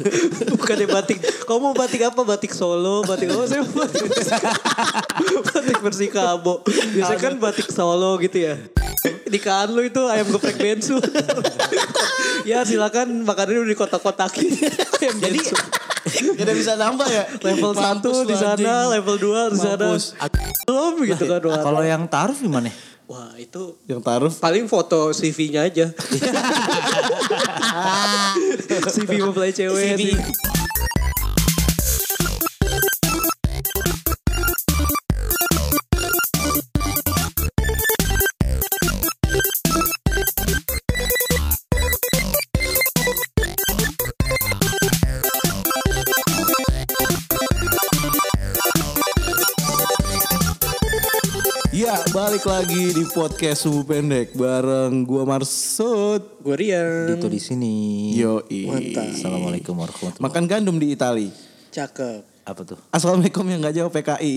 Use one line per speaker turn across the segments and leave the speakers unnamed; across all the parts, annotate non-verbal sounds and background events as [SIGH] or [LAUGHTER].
[LAUGHS] Bukannya batik. Kamu mau batik apa? Batik Solo, batik apa? Saya mau batik [LAUGHS] batik Persikabo. Biasanya kan batik Solo gitu ya. Nikahan lu itu ayam geprek
[LAUGHS]
bensu. ya silakan makanannya udah dikotak-kotakin. ayam
Jadi
bensu.
gak ada bisa nambah ya.
Level
Mampus
1 di
lu
sana,
anjing.
level 2 di sana.
Mampus. Nah,
Belum gitu kan. Wak.
Kalau yang taruh gimana?
Wah itu
Yang taruh.
paling foto CV-nya
[LAUGHS]
aja. [LAUGHS] CV mempelai cewek.
CV.
CV.
Ya balik lagi di podcast subuh pendek bareng gua Marsud.
Gue Rian.
Itu di sini.
Yoi.
Assalamualaikum warahmatullahi
Makan gandum di Itali.
Cakep.
wabarakatuh. Apa tuh?
Assalamualaikum yang gak jawab PKI.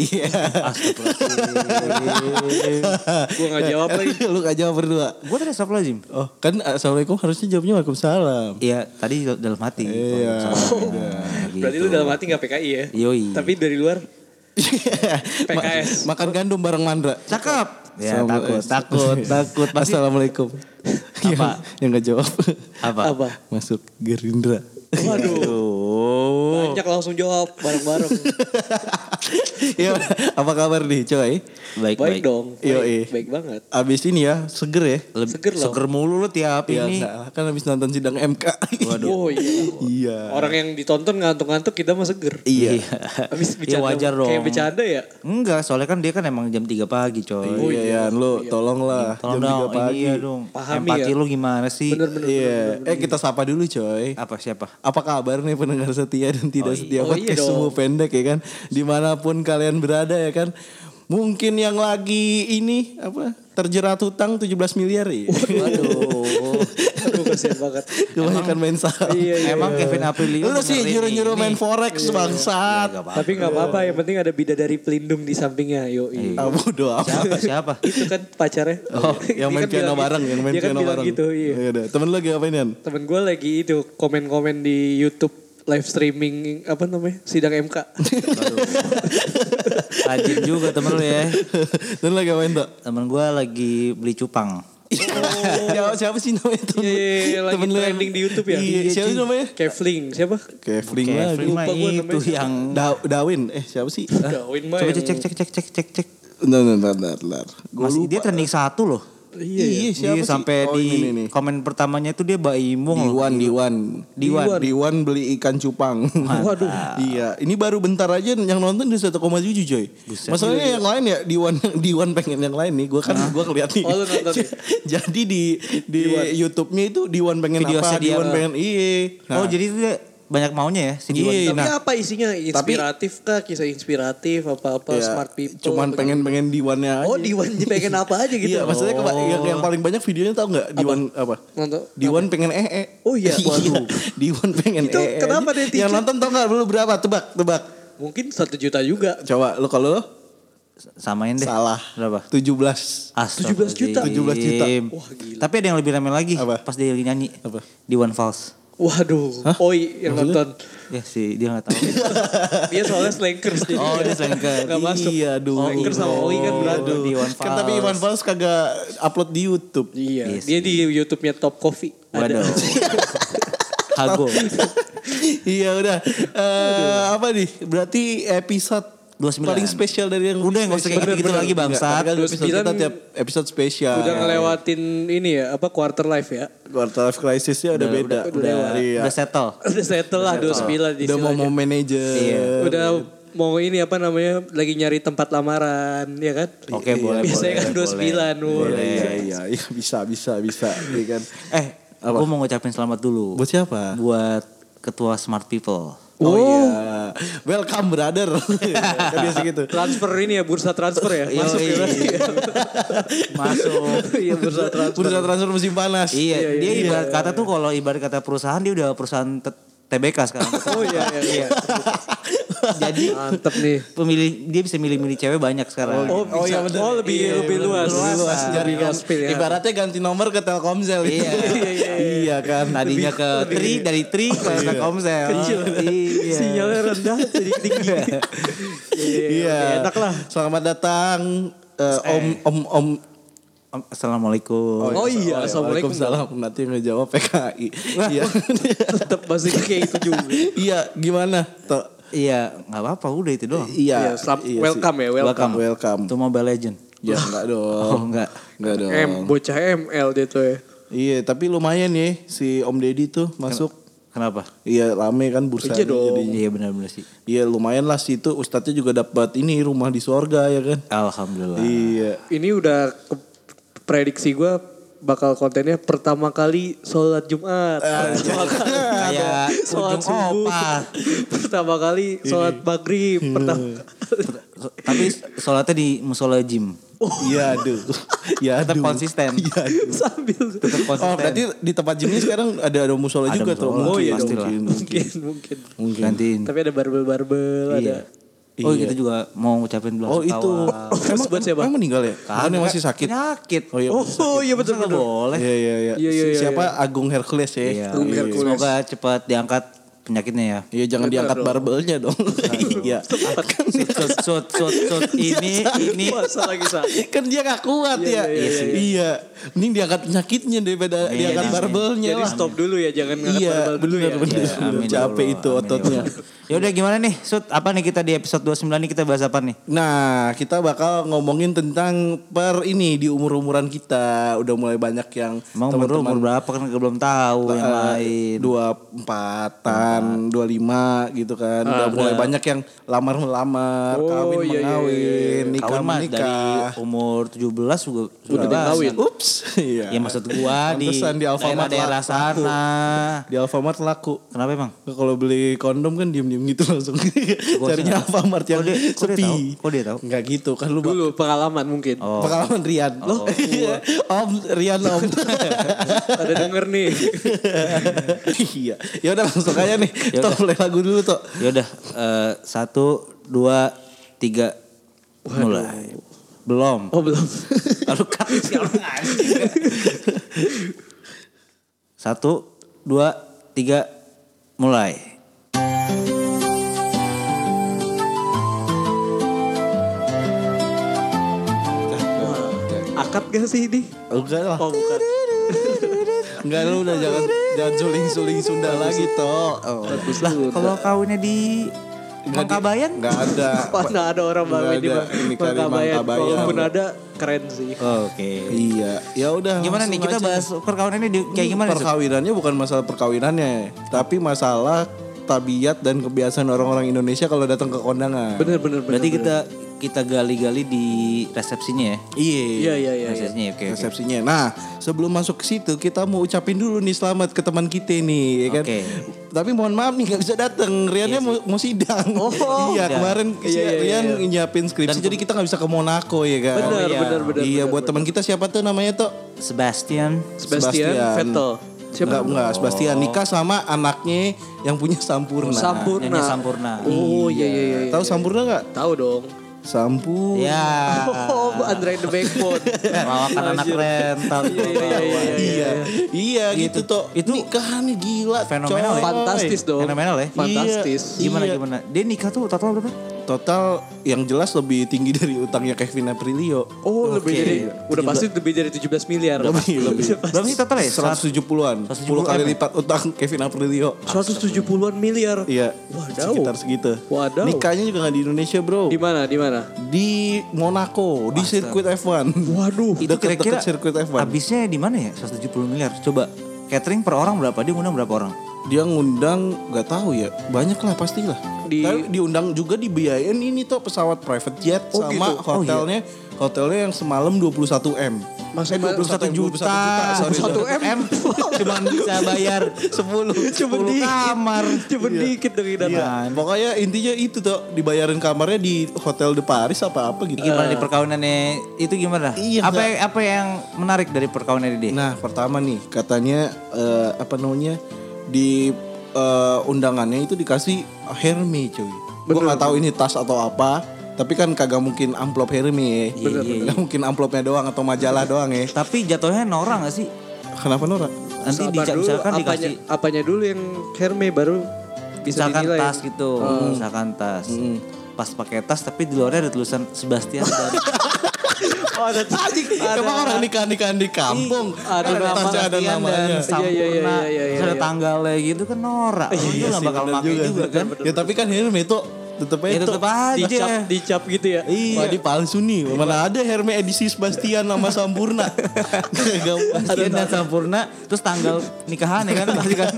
Gue gak jawab lagi.
Lu gak jawab berdua.
Gue tadi astagfirullahaladzim.
Oh kan assalamualaikum harusnya jawabnya waalaikumsalam.
Iya tadi dalam hati.
Iya.
Waalaikumsalam.
Berarti
Nah, Gitu.
lu dalam hati gak PKI ya?
Yoi.
Tapi dari luar
Ma-
PKS.
makan gandum bareng Mandra.
Cakep. Ya takut,
Assalamualaikum. [LAUGHS]
takut, takut. Pasti
Assalamualaikum.
Apa?
Yang- yang gak jawab.
apa?
apa?
Masuk Gerindra.
Waduh.
Aduh.
Banyak langsung jawab
[LAUGHS]
bareng-bareng.
ya, apa kabar nih coy?
Baik,
baik,
baik.
dong. Baik,
Yoi.
baik banget.
Abis ini ya seger ya.
Lebih-
Seger loh.
Seger mulu lu tiap
Ya
ini.
enggak lah, kan abis nonton sidang MK.
Waduh.
Oh iya.
iya.
Orang yang ditonton ngantuk-ngantuk kita mah seger.
Iya.
Habis
Ya
bercanda.
wajar dong.
Kayak bercanda ya.
Enggak, soalnya kan dia kan emang jam 3 pagi coy.
Oh, iya, Yan, lu tolonglah
Tolong
jam
dong,
3 pagi.
ini ya dong.
Pahami
Empati
ya.
lu gimana sih?
Bener-bener.
Iya. Eh kita sapa dulu coy.
Apa siapa?
Apa kabar nih pendengar setia dan tidak setia
Oh, iya
podcast
dong.
semua pendek ya kan. Dimanapun kalian berada ya kan. Mungkin yang lagi ini apa terjerat hutang 17 miliar ya.
Waduh.
Aduh kasihan banget.
Kebanyakan main saham.
Iya,
Emang Kevin Aprilio
Iya, Lu sih nyuruh-nyuruh main forex bangsat.
Tapi gak iya. Ya, apa-apa yang penting ada bidadari pelindung di sampingnya. Yoi.
Ah, bodo amat.
Siapa siapa?
Itu kan pacarnya. [LAUGHS]
Oh,
Dia
[LAUGHS] yang main
kan bilang
piano
gitu.
bareng, yang main
Dia kan
piano
bilang
bareng.
gitu, iya.
Ya udah, Temen lu lagi ngapain Yan?
Temen gue lagi itu komen-komen di YouTube live streaming apa namanya sidang MK.
[LAUGHS]
Rajin juga temen lu
[LAUGHS]
ya.
Temen lu lagi ngapain tuh?
Temen gue lagi beli cupang.
Oh, Siapa, siapa sih namanya temen?
Iya, iya, iya, lagi
lu yang-
trending di YouTube ya?
Iya,
Iya,
siapa sih namanya?
Kevling siapa?
Kevling lah.
Kevin
lupa
mah
gua
itu
namanya.
yang
Da- Dawin, eh siapa sih?
Gawin mah
coba
yang-
cek cek cek cek cek cek.
Bentar, bentar, bentar, bentar. Gua
Masih
lupa.
dia trending satu loh.
Iya,
Iya, siapa
Dia
sih?
sampai
Oh,
di
ini, ini, ini.
komen pertamanya itu dia Baimung.
Diwan, Diwan. Iya,
Diwan.
Diwan beli ikan cupang.
Waduh.
[LAUGHS] Iya, ini baru bentar aja yang nonton di 1,7 coy.
Iya,
Masalahnya yang lain ya Diwan [LAUGHS] Diwan pengen yang lain nih. Gua kan gua ngeliat nih.
Oh, lu nonton nih?
[LAUGHS] Jadi di di YouTube-nya itu Diwan pengen
Video
apa?
set dia.
Diwan pengen iye. Nah,
Oh jadi itu dia banyak maunya ya si Diwan.
Iya,
Tapi
nah.
apa isinya? Inspiratif kah? Kisah inspiratif apa-apa
ya,
smart people.
Cuman
apa-
pengen-pengen Diwannya aja.
Oh, Diwan pengen apa aja gitu.
Iya, maksudnya keba- yang, yang paling banyak videonya tau nggak Diwan apa?
Nonton.
Diwan pengen ee.
Oh iya, waduh.
Diwan pengen
Itu
ee.
kenapa
aja.
netizen?
Yang nonton tau nggak lu berapa? Tebak, tebak.
Mungkin satu juta juga.
Coba lu kalau lu
Samain deh.
salah.
Berapa?
17
17.
juta.
17 juta.
Wah, gila.
Tapi ada yang lebih rame lagi
Apa?
pas dia lagi nyanyi.
Apa?
Diwan Fals.
Waduh. Oi yang nonton.
Ya sih dia
[LAUGHS]
nggak tahu.
Dia soalnya slankers jadi.
Oh, dia slankers.
Gak masuk.
Iya, aduh.
Slankers sama Oi kan berantem.
Aduh, Diwan
Kan tapi
Fals.
Iwan Fals kagak upload di
[LAUGHS]
YouTube.
Iya,
Iya
dia di YouTube-nya Top Coffee.
Waduh.
Ada.
Hago.
iya udah. Eh, apa nih? Berarti episode
29.
paling spesial dari yang
Udah, nggak usah kayak gitu-gitu lagi, bangsat.
Enggak, kan episode kita
29
tiap episode spesial.
[LAUGHS] Udah ngelewatin ini ya, apa quarter life ya.
Quarter life crisisnya udah, beda.
Udah, udah,
iya.
udah settle.
[LAUGHS] Udah settle lah 29 di
udah mau mau manajer.
Iya.
Udah mau ini apa namanya lagi nyari tempat lamaran ya kan?
Oke, boleh,
Biasanya
boleh,
kan 29 Nur.
Iya, iya, iya, [LAUGHS] iya, bisa, bisa, bisa, iya kan.
Eh, gue mau ngucapin selamat dulu.
Buat siapa?
Buat ketua Smart People.
Oh, iya, welcome brother. kan biasa gitu.
[LAUGHS] Transfer ini ya bursa transfer [LAUGHS] ya. Masuk ya. berarti ya.
[LAUGHS] Masuk.
Iya bursa transfer. Iya,
Bursa transfer musim panas.
Iya, dia ibarat kata tuh kalau ibarat kata perusahaan dia udah perusahaan te- TBK sekarang.
[LAUGHS] Oh iya iya iya.
Jadi
Mantep nih.
pemilih dia bisa milih-milih cewek banyak sekarang.
Oh, bisa.
iya bener.
Oh, lebih- lebih
bener.
luas.
Lebih luas.
Lebih
Jadi kan
gaspil, ya. [LAUGHS]
Ibaratnya ganti nomor ke Telkomsel. [LAUGHS]
Iya.
iya kan.
Tadinya ke tri dari tri ke Telkomsel. Iya.
Sinyalnya rendah jadi tinggi. Iya. oke,
Iya.
Enak lah.
Selamat datang eh, Om Om Om.
[LAUGHS] Om, Assalamualaikum.
Oh iya, assalamualaikum.
Waalaikumsalam. Nanti ngejawab PKI. Iya.
Tetap masih kayak itu juga.
Iya, gimana? Tuh.
Iya, nggak apa-apa udah itu doang.
Iya,
Iya.
selamat-
iya sih.
welcome ya, welcome.
Welcome. welcome.
Itu Mobile Legend.
Ya enggak dong.
Oh, enggak.
Enggak dong.
M, bocah ML dia tuh ya.
Iya, tapi lumayan ya si Om Deddy tuh masuk.
Kenapa?
Iya, rame kan bursa
Iya dong.
jadi.
Iya benar-benar sih.
Iya, lumayan lah situ ustadznya juga dapat ini rumah di sorga ya kan.
Alhamdulillah.
Iya.
Ini udah ke- prediksi gue bakal kontennya pertama kali sholat Jumat. Pertama kali-
Eh, iya. Kayak
Sholat
ujung
subuh.
opa.
Pertama kali sholat maghrib.
Hmm.
Pertama
So- Tapi sholatnya di musola gym.
Iya, aduh. Ya
Tetap
aduh.
konsisten.
sambil
Tetap konsisten.
Oh, berarti di tempat gymnya sekarang ada ada musola
Ada
juga tuh.
musola. Oh,
Mungkin,
iya dong.
mungkin, mungkin.
mungkin mungkin.
Mungkin.
Gantiin.
Tapi ada barbel-barbel ada.
Iya. Oh,
Iya.
kita juga mau ngucapin belas
Oh, itu.
Terus buat siapa?
Emang meninggal ya? Kan yang masih sakit.
Sakit.
Oh, iya.
Oh, oh, iya betul
Masa nggak
betul.
boleh.
Iya, iya, iya.
Iya, iya,
Si-
iya,
Siapa? Agung Hercules ya.
Iya.
Tunggu
iya.
Hercules.
Semoga cepat diangkat penyakitnya ya.
Iya, jangan
Bener
diangkat
dong.
barbelnya dong. [LAUGHS] Iya. Kan
Sut sut sut sut,
[LAUGHS]
sut.
Iya,
ini ini
Puasa lagi sakit.
kan dia gak kuat
Iya, iya,
ya. Iya, iya. Mending diangkat penyakitnya daripada
Iya,
diangkat
jadi-
barbelnya
Jadi
lah.
stop dulu ya, jangan ngangkat
Iya,
barbel dulu ya.
bener, bener.
Ya, amin ya
Capek
Allah,
itu
amin ya
ototnya.
Allah. Ya udah gimana nih, Sut? Apa nih kita di episode 29 nih kita bahas apa nih?
Nah, kita bakal ngomongin tentang per ini di umur-umuran kita udah mulai banyak yang
Emang umur lu umur berapa kan gua belum tahu yang lain.
dua empatan, dua lima gitu kan. Udah mulai banyak yang lamar melamar,
Oh,
kawin
iya, iya,
mengawin, nikah
Kawin mah dari
menikah.
umur 17 juga
Udah dikawin.
Ups, [LAUGHS] iya.
Ya maksud gua di
Pantesan di Alfamart
daerah-daerah
laku.
sana.
Di Alfamart laku.
Kenapa emang?
Kalau beli kondom kan diem-diem gitu langsung. [LAUGHS] Carinya
tahu.
Alfamart yang
Kok dia- kok dia
sepi.
tahu? Kok dia tahu?
Enggak gitu kan lu
Dulu pengalaman mungkin.
Oh.
pengalaman Rian. Loh, iya. Om Rian Om.
Ada denger
[LAUGHS]
nih.
iya. Ya udah langsung aja nih.
Yaudah.
Tuh play lagu dulu tuh.
Ya udah eh, satu, dua, tiga, mulai. Belum.
Oh belum.
Lalu cut. Satu, dua, tiga, mulai.
Akad gak sih ini?
Enggak lah.
Oh bukan.
Enggak lu udah jangan jangan suling-suling Sunda lagi toh. Oh.
Bagus
Lah,
lah.
kalau kawinnya di
Enggak di-
Mangkabayan?
Enggak ada.
Mana ada orang
Enggak
bawa di
ada.
Bang-
Ini kari
Bangkabayan.
Bangkabayan.
Kalaupun ada keren sih.
Oke.
Iya. Ya udah.
Gimana nih
langsung
kita
aja.
bahas perkawinannya di, kayak gimana? Sut?
Perkawinannya bukan masalah perkawinannya, tapi masalah tabiat dan kebiasaan orang-orang Indonesia kalau datang ke kondangan.
Bener bener bener.
Berarti kita kita gali-gali di resepsinya ya.
Iya iya iya. iya.
Resepsinya oke. oke.
resepsinya. Nah, sebelum masuk ke situ kita mau ucapin dulu nih selamat ke teman kita nih, ya kan?
Oke.
Tapi mohon maaf nih nggak bisa datang. Riannya mau, mau sidang. [LAUGHS] iya, kemarin si
Iya, iya,
Rian nyiapin skripsi jadi kita nggak bisa ke Monaco ya kan?
Bener,
iya.
bener bener.
iya,
bener,
buat
bener.
teman kita siapa tuh namanya tuh?
Sebastian.
Sebastian
Sebastian. Nah,
Vettel. Siapa?
Enggak, enggak, Sebastian nikah sama anaknya yang punya Sampurna.
Sampurna.
Nyonya Sampurna.
Oh iya iya iya.
nah, Tahu Sampurna nggak?
Tahu
[LAUGHS]
dong.
Sampurna.
Ya.
Oh, Andre the Backbone.
Mawakan anak rental.
Iya iya iya, iya iya.
Iya, iya gitu, toh. Itu nikahannya gila,
Fenomenal
coy.
ya.
Fantastis dong.
Fenomenal ya.
Fantastis.
Gimana
Iya.
gimana? Dia nikah tuh total berapa?
Total yang jelas lebih tinggi dari utangnya Kevin Aprilio.
Oh, lebih
Oke.
dari udah pasti lebih dari 17 miliar.
Lebih,
[LAUGHS]
lebih.
Udah pasti.
Berapa sih total ya?
170-an.
170
10 kali
M. ya?
lipat utang Kevin Aprilio.
170-an miliar.
Iya,
Wadaw.
sekitar segitu.
Wadaw.
Nikahnya juga nggak di Indonesia, Bro.
Di mana? Di mana?
Di Monaco, di sirkuit F1.
Waduh.
Itu
Deket-deket
kira-kira
sirkuit F1.
Habisnya di mana ya? 170 miliar. Coba catering per orang berapa? Dia ngundang berapa orang?
Dia ngundang nggak tahu ya, banyak lah pastilah.
Di-
Tapi diundang juga dibiayain ini tuh pesawat private jet
Oh,
sama
gitu. Oh,
hotelnya, hotelnya yang semalam 21 m. Eh,
Masa
21 m, 21 juta, sorry.
1 M.
Cuma bisa bayar
[LAUGHS]
10
Cuma
10
dikit.
kamar.
Cuma dikit dong ini data.
Nah.
Iya, pokoknya intinya itu tuh dibayarin kamarnya di Hotel de Paris apa apa gitu.
Gimana di perkawinannya itu gimana?
Iya,
apa
nggak-
yang, apa yang menarik dari perkawinannya dia?
Nah, pertama nih katanya eh, apa namanya di eh, undangannya itu dikasih Hermi cuy. Gue nggak tahu ini tas atau apa, tapi kan kagak mungkin amplop
Iya,
Hermi. ya. Nggak mungkin amplopnya doang atau majalah doang ya.
Tapi jatuhnya norak gak sih?
Kenapa Nora?
Nanti
Sabar
dica-
dulu,
misalkan
apanya,
dikasih
apanya dulu yang Herme baru bisa
misalkan
dinilai. ya?
tas
[LAUGHS]
gitu, misalkan tas. Pas pakai tas tapi di luarnya ada tulisan Sebastian dan
Oh, ada
Anjing,
Iya,
emang orang nikah nikahan di kampung,
ada
kan
nama
tasnya ada
Sebastian dan
namanya.
Sampurna.
Iya, iya, iya, iya, iya,
terus ada
iya.
tanggalnya gitu kan norak. Lu nggak
iya sih,
bakal
bener
pakai juga,
sih.
kan.
Ya tapi kan Hermi itu tetep aja
Ya
itu.
tetep aja.
dicap dicap gitu ya.
Iya. Wah, ini palsu nih.
Iya.
Mana ada Herme edisi Sebastian nama
[LAUGHS]
Sampurna. Gak
Sebastian dan Sampurna terus tanggal nikahan ya kan pasti [LAUGHS] kan.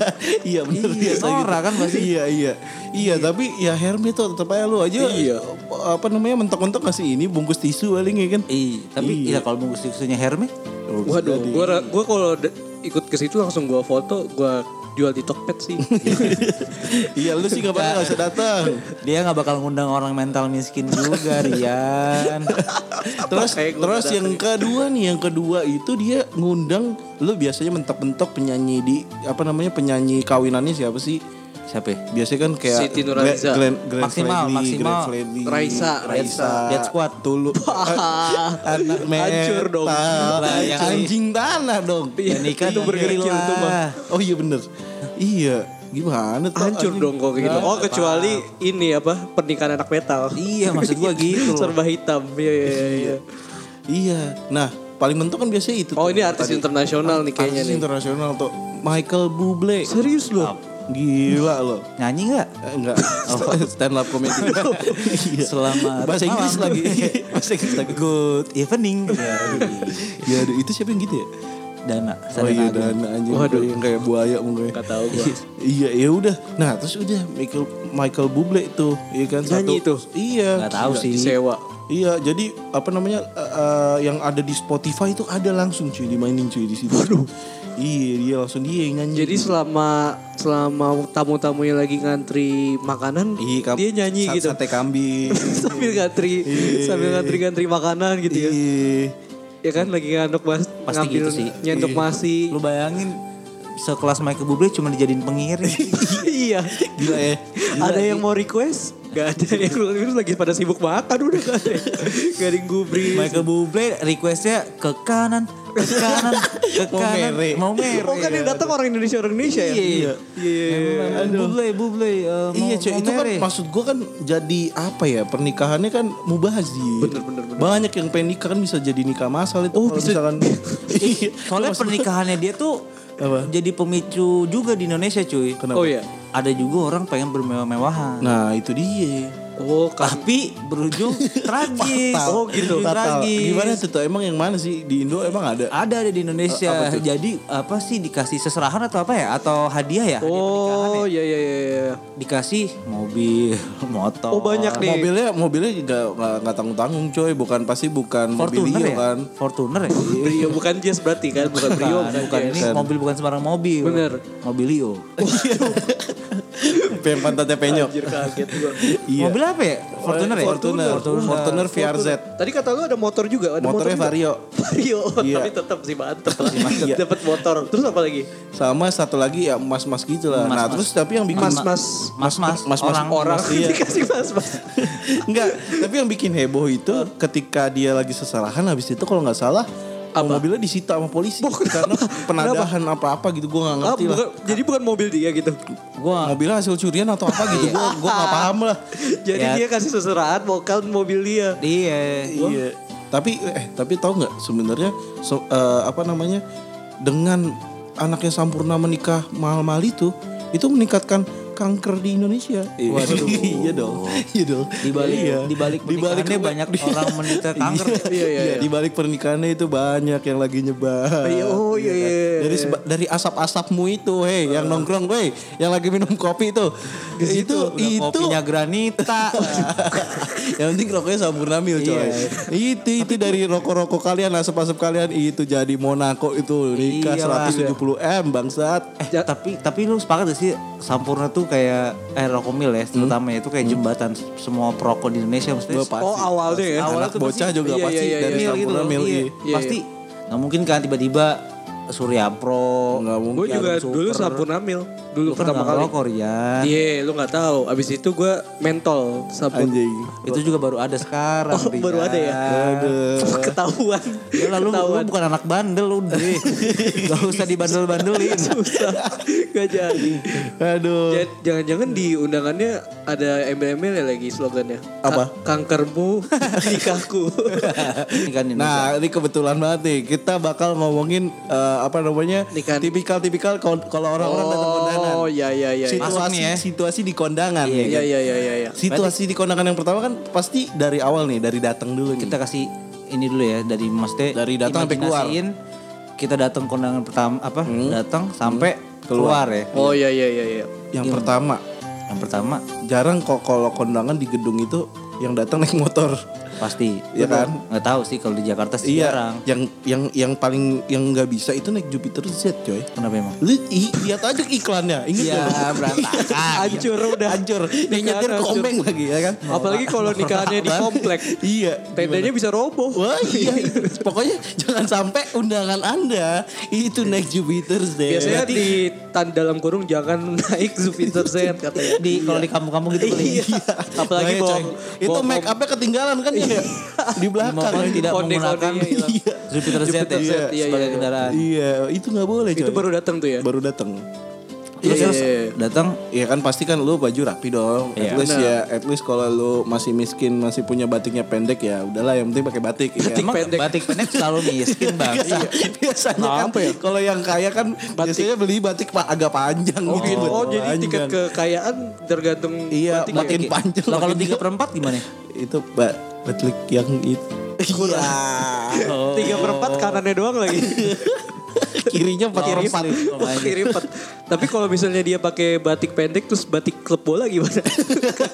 iya benar
Iya, norak kan pasti.
Iya iya. Iya, tapi ya Hermi tuh tetap aja lu aja iya. apa namanya mentok-mentok ngasih ini bungkus tisu paling ya kan.
Ih, tapi ya
Iya.
kalau bungkus tisunya Hermes
Waduh, gua ra- gua kalau de- ikut ke situ langsung gua foto, gua jual di Tokped [LAUGHS] sih. Gitu.
iya lu sih gak pernah gak usah datang.
dia nggak bakal ngundang orang mental miskin
[LAUGHS]
juga Rian.
Terus
Makanya gua
terus
datang.
yang kedua nih, yang kedua itu dia ngundang lu biasanya mentok-mentok penyanyi di apa namanya penyanyi kawinannya siapa sih?
Siapa? ya?
Biasanya kan kayak
Siti Nurhaliza.
Glenn- Glenn
Maksimal,
Fredly,
maksimal.
Glenn Fredly,
Raisa,
Raisa,
Dead Squad.
Tulu, anak meta,
Hancur dong.
Lah, yang-
anjing tanah dong.
Iya,
nikah
itu
dong,
bergeril
gila.
tuh mah.
Oh iya bener, iya gimana tuh?
Hancur
anjing?
dong kok kayak gitu. Oh, kecuali ini apa? Pernikahan anak metal.
Iya, maksud
[LAUGHS]
gua gitu loh.
Serba hitam. Iya, iya, iya.
Iya, nah paling mentok kan biasanya itu.
Oh,
tuh
ini artis
tadi.
internasional nih kayaknya
Artis
nih.
internasional tuh Michael Bublé.
Serius loh.
Gila loh.
Nyanyi nggak?
Eh,
[LAUGHS]
Enggak, stand up comedy. Iya.
Selamat malam. Iya.
bahasa Inggris lagi. [LAUGHS] bahasa Inggris lagi.
Good
[LAUGHS]
evening. Iya,
Ya aduh, itu siapa yang gitu ya?
Dana,
Oh iya
Dana.
dana anjing
Waduh.
yang kayak buaya mungkin.
Nggak tahu gua.
iya ya udah. Nah terus udah Michael Michael Bublé tuh, iya kan
Nyanyi
satu.
tuh?
Iya.
Nggak tahu
Iya.
sih.
Disewa.
Iya jadi apa namanya eh, eh, yang ada di Spotify itu ada langsung cuy dimainin cuy di situ. Waduh. Iya dia langsung dia yang nyanyi.
Jadi selama selama tamu-tamunya lagi ngantri makanan,
Iya, kap-
dia nyanyi
sat-
gitu.
Sate kambing.
[LAUGHS] sambil ngantri sambil ngantri ngantri makanan gitu ya
Iya.
ya kan lagi ngandok mas
Pasti
ngambil
gitu sih.
nyentok masi
Lu bayangin sekelas Michael Bublé cuma dijadiin
[LAUGHS]
pengiring.
[LAUGHS] iya
Gila ya.
ada yang mau request Gak ada yang terus lagi pada sibuk makan udah gak ada garing gubri
Michael Bublé requestnya ke kanan, ke kanan, ke
Mau
kanan,
mere.
mau mere.
oh kan yang datang orang Indonesia orang Indonesia ya
Iya.
iya
Bublé, Bublé, eh, mau-
Iya cuy,
mau
itu kan
mere.
maksud gue kan jadi apa ya pernikahannya kan mubazir.
Bener, bener, bener.
Banyak yang pengen nikah kan bisa jadi nikah masal itu.
Oh,
kalau
bisa.
misalkan. iya.
Soalnya pernikahannya dia tuh
[LAUGHS] Apa?
jadi pemicu juga di Indonesia cuy.
Kenapa?
oh iya
Ada juga orang pengen bermewah-mewahan.
Nah itu dia.
oh kan
Tapi
[LAUGHS]
berujung tragis.
Fatal.
Oh, gitu.
Berujung
Fatal.
Tragis.
Gimana tuh tuh emang yang mana sih di Indo emang ada?
Ada ada di Indonesia. Jadi apa sih dikasih seserahan atau apa ya? Atau hadiah ya? Hadiah pernikahan ya?
oh iya iya iya iya.
Dikasih mobil, [LAUGHS] motor.
oh banyak nih
Mobilnya mobilnya juga nggak nggak tanggung tanggung coy, bukan pasti bukan mobil
Fortuner
Rio
ya?
kan.
Fortuner ya?
Brio Iya, bukan Jazz berarti kan bukan Brio
Bukan, bukan. ini
iya kan.
mobil bukan sembarang mobil.
Bener.
Mobilio.
yang pantatnya penyok.
Anjir kaget gua.
Iya.
Mobil apa ya? Fortuner ya?
Fortuner,
Fortuner.
Fortuner VRZ.
Tadi kata lu ada motor juga, ada motor
Motornya
juga.
Vario.
[LAUGHS]
Vario,
Iya.
tapi tetap sih mantep lah. [LAUGHS] Dapat motor. Terus apa lagi?
Iya.
Sama satu lagi ya mas-mas gitu lah. Nah
Mas-mas.
terus tapi yang bikin
Mas-mas
Mas-mas,
Mas-mas
orang.
orang [LAUGHS]
Iya.
dikasih mas-mas.
Enggak, tapi yang bikin heboh itu ketika dia lagi sesalahan habis itu kalau nggak salah
Apa?
mobilnya disita sama polisi karena penadahan apa-apa gitu gue nggak
Ah,
ngerti lah.
bukan- jadi bukan mobil dia gitu. [LAUGHS]
Gua
Mobilnya hasil curian atau apa gitu gue gue nggak paham lah.
Jadi
Ya.
dia kasih seserahan bukan mobil dia.
Iya.
Iya. Tapi eh tapi tahu nggak sebenarnya so- eh, apa namanya dengan anaknya sampurna menikah mahal-mahal itu itu meningkatkan kanker di Indonesia.
Waduh.
[LAUGHS] iya dong. Iya dong.
Di balik
Iya.
di balik Iya.
Di balik
pernikahannya banyak orang menderita kanker.
Iya, iya,
Iya, di balik pernikahannya itu banyak yang lagi nyebar.
Iya, oh, iya,
kan?
iya, iya.
Dari seba- dari asap-asapmu itu, hei, yang nongkrong, hei, yang lagi minum kopi itu. itu
Udah
itu
Kopinya granita.
[LAUGHS]
[LAUGHS]
yang penting rokoknya sampurna mil coy.
Iya.
Itu itu dari rokok-rokok kalian, asap-asap kalian itu jadi Monaco itu nikah
Iyalah.
170 M bangsat.
eh, tapi tapi lu sepakat gak sih Sampurna tuh kayak eh Rokomil ya terutama ya, itu kayak jembatan semua perokok di Indonesia mesti
Gua pasti.
Oh, awalnya ya.
Anak
Awalnya tuh
bocah
pasti-
juga
iya,
pasti
iya, iya,
dari
iya.
sampurna mil.
gitu. Iya,
iya.
Iya,
Pasti nggak mungkin kan tiba-tiba Surya Pro.
Nggak mungkin.
Gue juga
Jarum
dulu
super.
Sampurna Mil. Dulu
Lu kan
pertama
nggak
kali.
ngerokok, kan? Rian.
Iya, lu nggak tahu. Abis itu gue mentol sabun.
Anjing.
Itu juga baru ada sekarang.
Oh, baru
Rian.
ada ya? [LAUGHS] Ketahuan.
Ya lah, lu, lu
Ketahuan.
bukan anak bandel udah. Gak usah dibandel-bandelin.
[LAUGHS] Susah. Gak jadi.
Aduh.
Ja- Jangan-jangan di undangannya ada embel-embel ya lagi slogannya. Ka-
Apa?
Kankermu nikahku.
Ini kan ini.
Nah, ini kebetulan banget nih. Kita bakal ngomongin eh, apa namanya?
Nikahan.
Tipikal-tipikal kalau kalau orang-orang datang kondangan.
oh, ya ya ya.
situasi
Masuk nih ya.
situasi di kondangan
Ya
ya kan?
ya ya ya ya.
Situasi di kondangan yang pertama kan pasti dari awal nih, dari datang dulu gitu. nih.
kita kasih ini dulu ya dari Mas T
Dari datang sampai keluar.
imajinasiin, kita datang kondangan pertama apa datang sampai keluar.
Keluar.
ya
Oh ya ya ya ya.
yang pertama,
yang pertama
jarang kok kalau kondangan di gedung itu yang datang naik motor.
pasti
Iya kan? Iya.
nggak tahu sih kalau di Jakarta sih jarang
yang yang yang paling yang nggak bisa itu naik Jupiter Z, coy.
kenapa emang
Lu i- lihat aja iklannya, inget
Iya
nggak?
berantakan
Hancur udah.
[LAUGHS] Hancur, dia
Nikahan
nyetir
hancur. Oh.
komeng lagi ya kan?
Apalagi kalau nikahannya di komplek.
Iya.
Tendanya bisa roboh.
Wah iya, pokoknya jangan sampai undangan anda itu naik Jupiter Z.
Biasanya di tan dalam kurung jangan [LAUGHS] naik Jupiter Z katanya.
di kalau di kampung-kampung gitu kali ya.
Apalagi
Bahaya,
bawa,
coy. kan itu
bawa
make upnya ketinggalan kan ya [LAUGHS] di belakang.
Mohon tidak
Kode-kodenya
menggunakan
hilang.
Jupiter Z
Jupiter Z,
ya,
iya, iya,
sebagai
iya.
kendaraan
Iya, itu nggak boleh.
itu
coy.
baru datang tuh ya.
baru datang.
terus
Iya,
terus
iya, iya.
datang
Iya kan pasti kan lu baju rapi dong.
Iya.
At least ya, at least kalau lu masih miskin masih punya batiknya pendek ya udahlah yang penting pakai batik. Iya.
emang
pendek.
batik pendek selalu miskin bang
Biasa- biasanya kan
Kenapa iya. ya?
kalau yang kaya kan biasanya beli batik pak agak panjang
Oh,
gitu.
oh, jadi tiket
Panjang.
kekayaan tergantung
Iya,
batik ya?
makin panjang.
Lah, kalau
makin-
tiga perempat gimana ya?
itu ba batik yang itu. Iya.
Tiga
Oh.
perempat kanannya doang lagi.
[LAUGHS] Kirinya empat
Kiri
perempat.
empat. Oh, kiri empat. Tapi kalau misalnya dia pakai batik pendek terus batik klub bola
[LAUGHS]
gimana?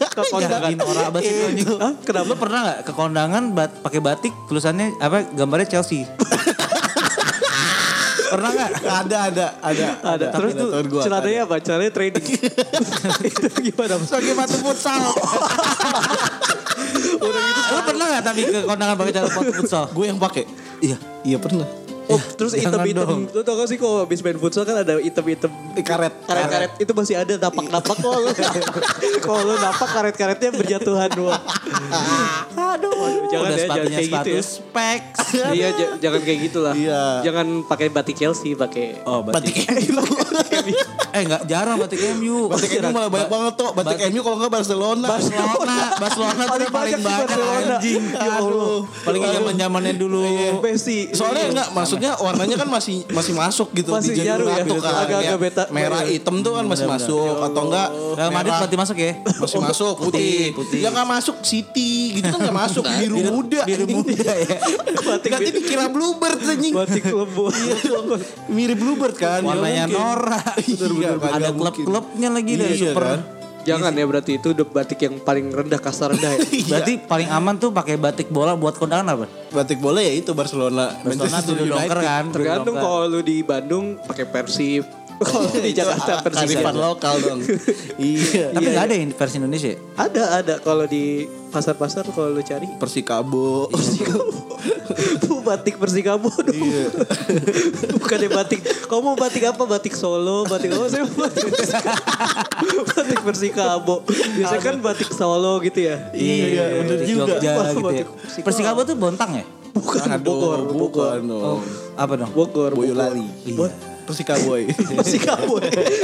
Ke kondangan.
Iya,
Jangan norak banget itu anjing.
gitu.
Hah?
Lu
Kenapa?
pernah nggak ke kondangan bat, pakai batik tulisannya apa gambarnya Chelsea? pernah nggak?
Ada ada ada
Ada. Terus tuh
Tahun gua, ada.
celananya apa? Celananya [LAUGHS] trading. itu gimana? Mas?
sebagai batu futsal.
Lu pernah nggak tapi ke kondangan pakai celana pot- futsal?
Gue yang pakai. Iya, iya pernah.
Oh, terus
jangan
item-item. Lu tau gak sih kalau habis main futsal kan ada item-item
Eh, Karet.
karet-karet itu masih ada napak-napak kalau [LAUGHS] lu kalau lu napak karet-karetnya berjatuhan doang. Aduh, jangan
Udah
ya, jangan
sepatunya
kayak gitu
sepatu
ya.
specs.
Iya, j- jangan kayak gitulah.
Iya.
Jangan pakai batik Chelsea, pakai
Oh batik.
Batik MU.
gitu.
[LAUGHS]
Eh nggak jarang batik MU.
Batik MU malah banyak banget tuh. Batik MU kalau nggak Barcelona.
Barcelona, Barcelona tuh
Paling
paling
banyak di
banyak
Barcelona. [LAUGHS] Iya.
anjing.
Ya Allah.
Aduh, paling zaman zamannya dulu.
Oh. Messi.
Soalnya enggak, maksudnya warnanya kan masih masih masuk gitu
Iya. Masih
di
nyaru ya,
Ratu kan.
agak-agak
Kayak
beta- iya.
merah hitam tuh kan masih masuk atau enggak
Real Madrid
merah
berarti masuk ya?
masih masuk putih. Ya enggak masuk City gitu kan enggak masuk biru muda.
Biru muda ya.
batik
Nanti dikira bluebird anjing.
batik lembu. Iya.
Mirip bluebird kan.
Warnanya norak. Iya,
Bener-bener
Ada klub-klubnya lagi dari
Iya,
super.
kan?
jangan ya berarti itu udah batik yang paling rendah kasar rendah ya.
Iya.
Berarti paling aman tuh pakai batik bola buat kondangan apa?
Batik bola ya itu Barcelona.
Barcelona
Manchester
tuh dulu
United.
dongker kan.
Tergantung kalau lu di Bandung pakai
[LAUGHS]
Persib, kalau di Jakarta Persija.
Karifan lokal [LAUGHS] dong. iya.
Tapi nggak ada yang versi Indonesia. ya?
Ada ada kalau di pasar-pasar kalau lu cari [LAUGHS]
Persikabo.
Bu batik Persikabo dong.
Iya.
[LAUGHS] Bukannya batik. Kamu mau batik apa? Batik Solo, batik apa? Saya mau batik Persikabo. [LAUGHS] batik Persikabo. Biasanya kan batik Solo gitu ya.
Iya, bener
Di
[LAUGHS] juga.
Jogja
Wah,
gitu ya.
batik Persikabo.
Persikabo tuh bontang ya?
Bukan
Iya,
Bogor, Bogor.
Oh. Iya.
Apa dong?
Bogor,
Boyolali. ya? Iya.
Bogor. Bo-
Persikaboy.
Persikabo.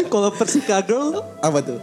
Kalau Persikadol
[LAUGHS] Apa tuh?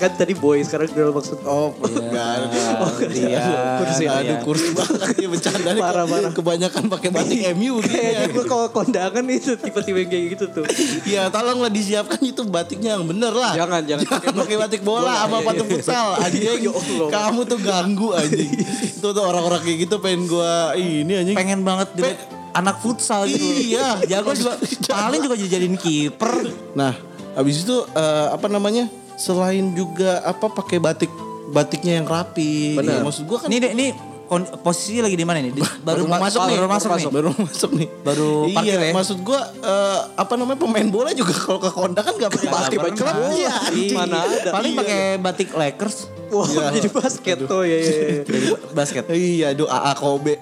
kan tadi boy sekarang girl maksud
Oh, enggak. Oh,
[LAUGHS]
iya.
Eh,
Kursi
Iya.
aduh kursi banget ya bercanda nih.
Parah, parah.
Kebanyakan pakai [LAUGHS] batik MU gitu ya.
Kayak gue kalau kondangan itu tiba-tiba kayak gitu tuh.
Ya tolonglah disiapkan itu batiknya yang bener
[LAUGHS]
lah.
Ya.
Jangan, jangan.
pakai batik bola sama
[LAUGHS]
batu futsal. Anjing,
Ya Allah.
kamu tuh ganggu anjing. itu tuh orang-orang kayak gitu pengen gua ini anjing.
Pengen banget jadi
Pe-
anak futsal gitu.
Iya.
Jago juga [LAUGHS] paling juga dijadiin kiper.
Nah, habis itu eh, apa namanya? Selain juga apa pakai batik batiknya yang rapi.
Bener.
Ya, maksud gua kan
Ini deh, ini kon- posisi lagi di mana nih? Di- Baru,
mau
pa-
masuk nih,
baru masuk nih.
baru masuk nih.
Baru parkir
iya,
ya?
maksud gua eh, apa namanya pemain bola juga kalau ke kondang kan gak pakai batik
pernah.
Klub Iya, dia, anjing.
Mana ada.
Iya, Paling
Iya,
pakai batik Lakers
[LAUGHS] Wah, iya, [LAUGHS] jadi basket Ah, tuh ya. ya, ya.
basket.
[LAUGHS]
Iya, aduh AA Kobe.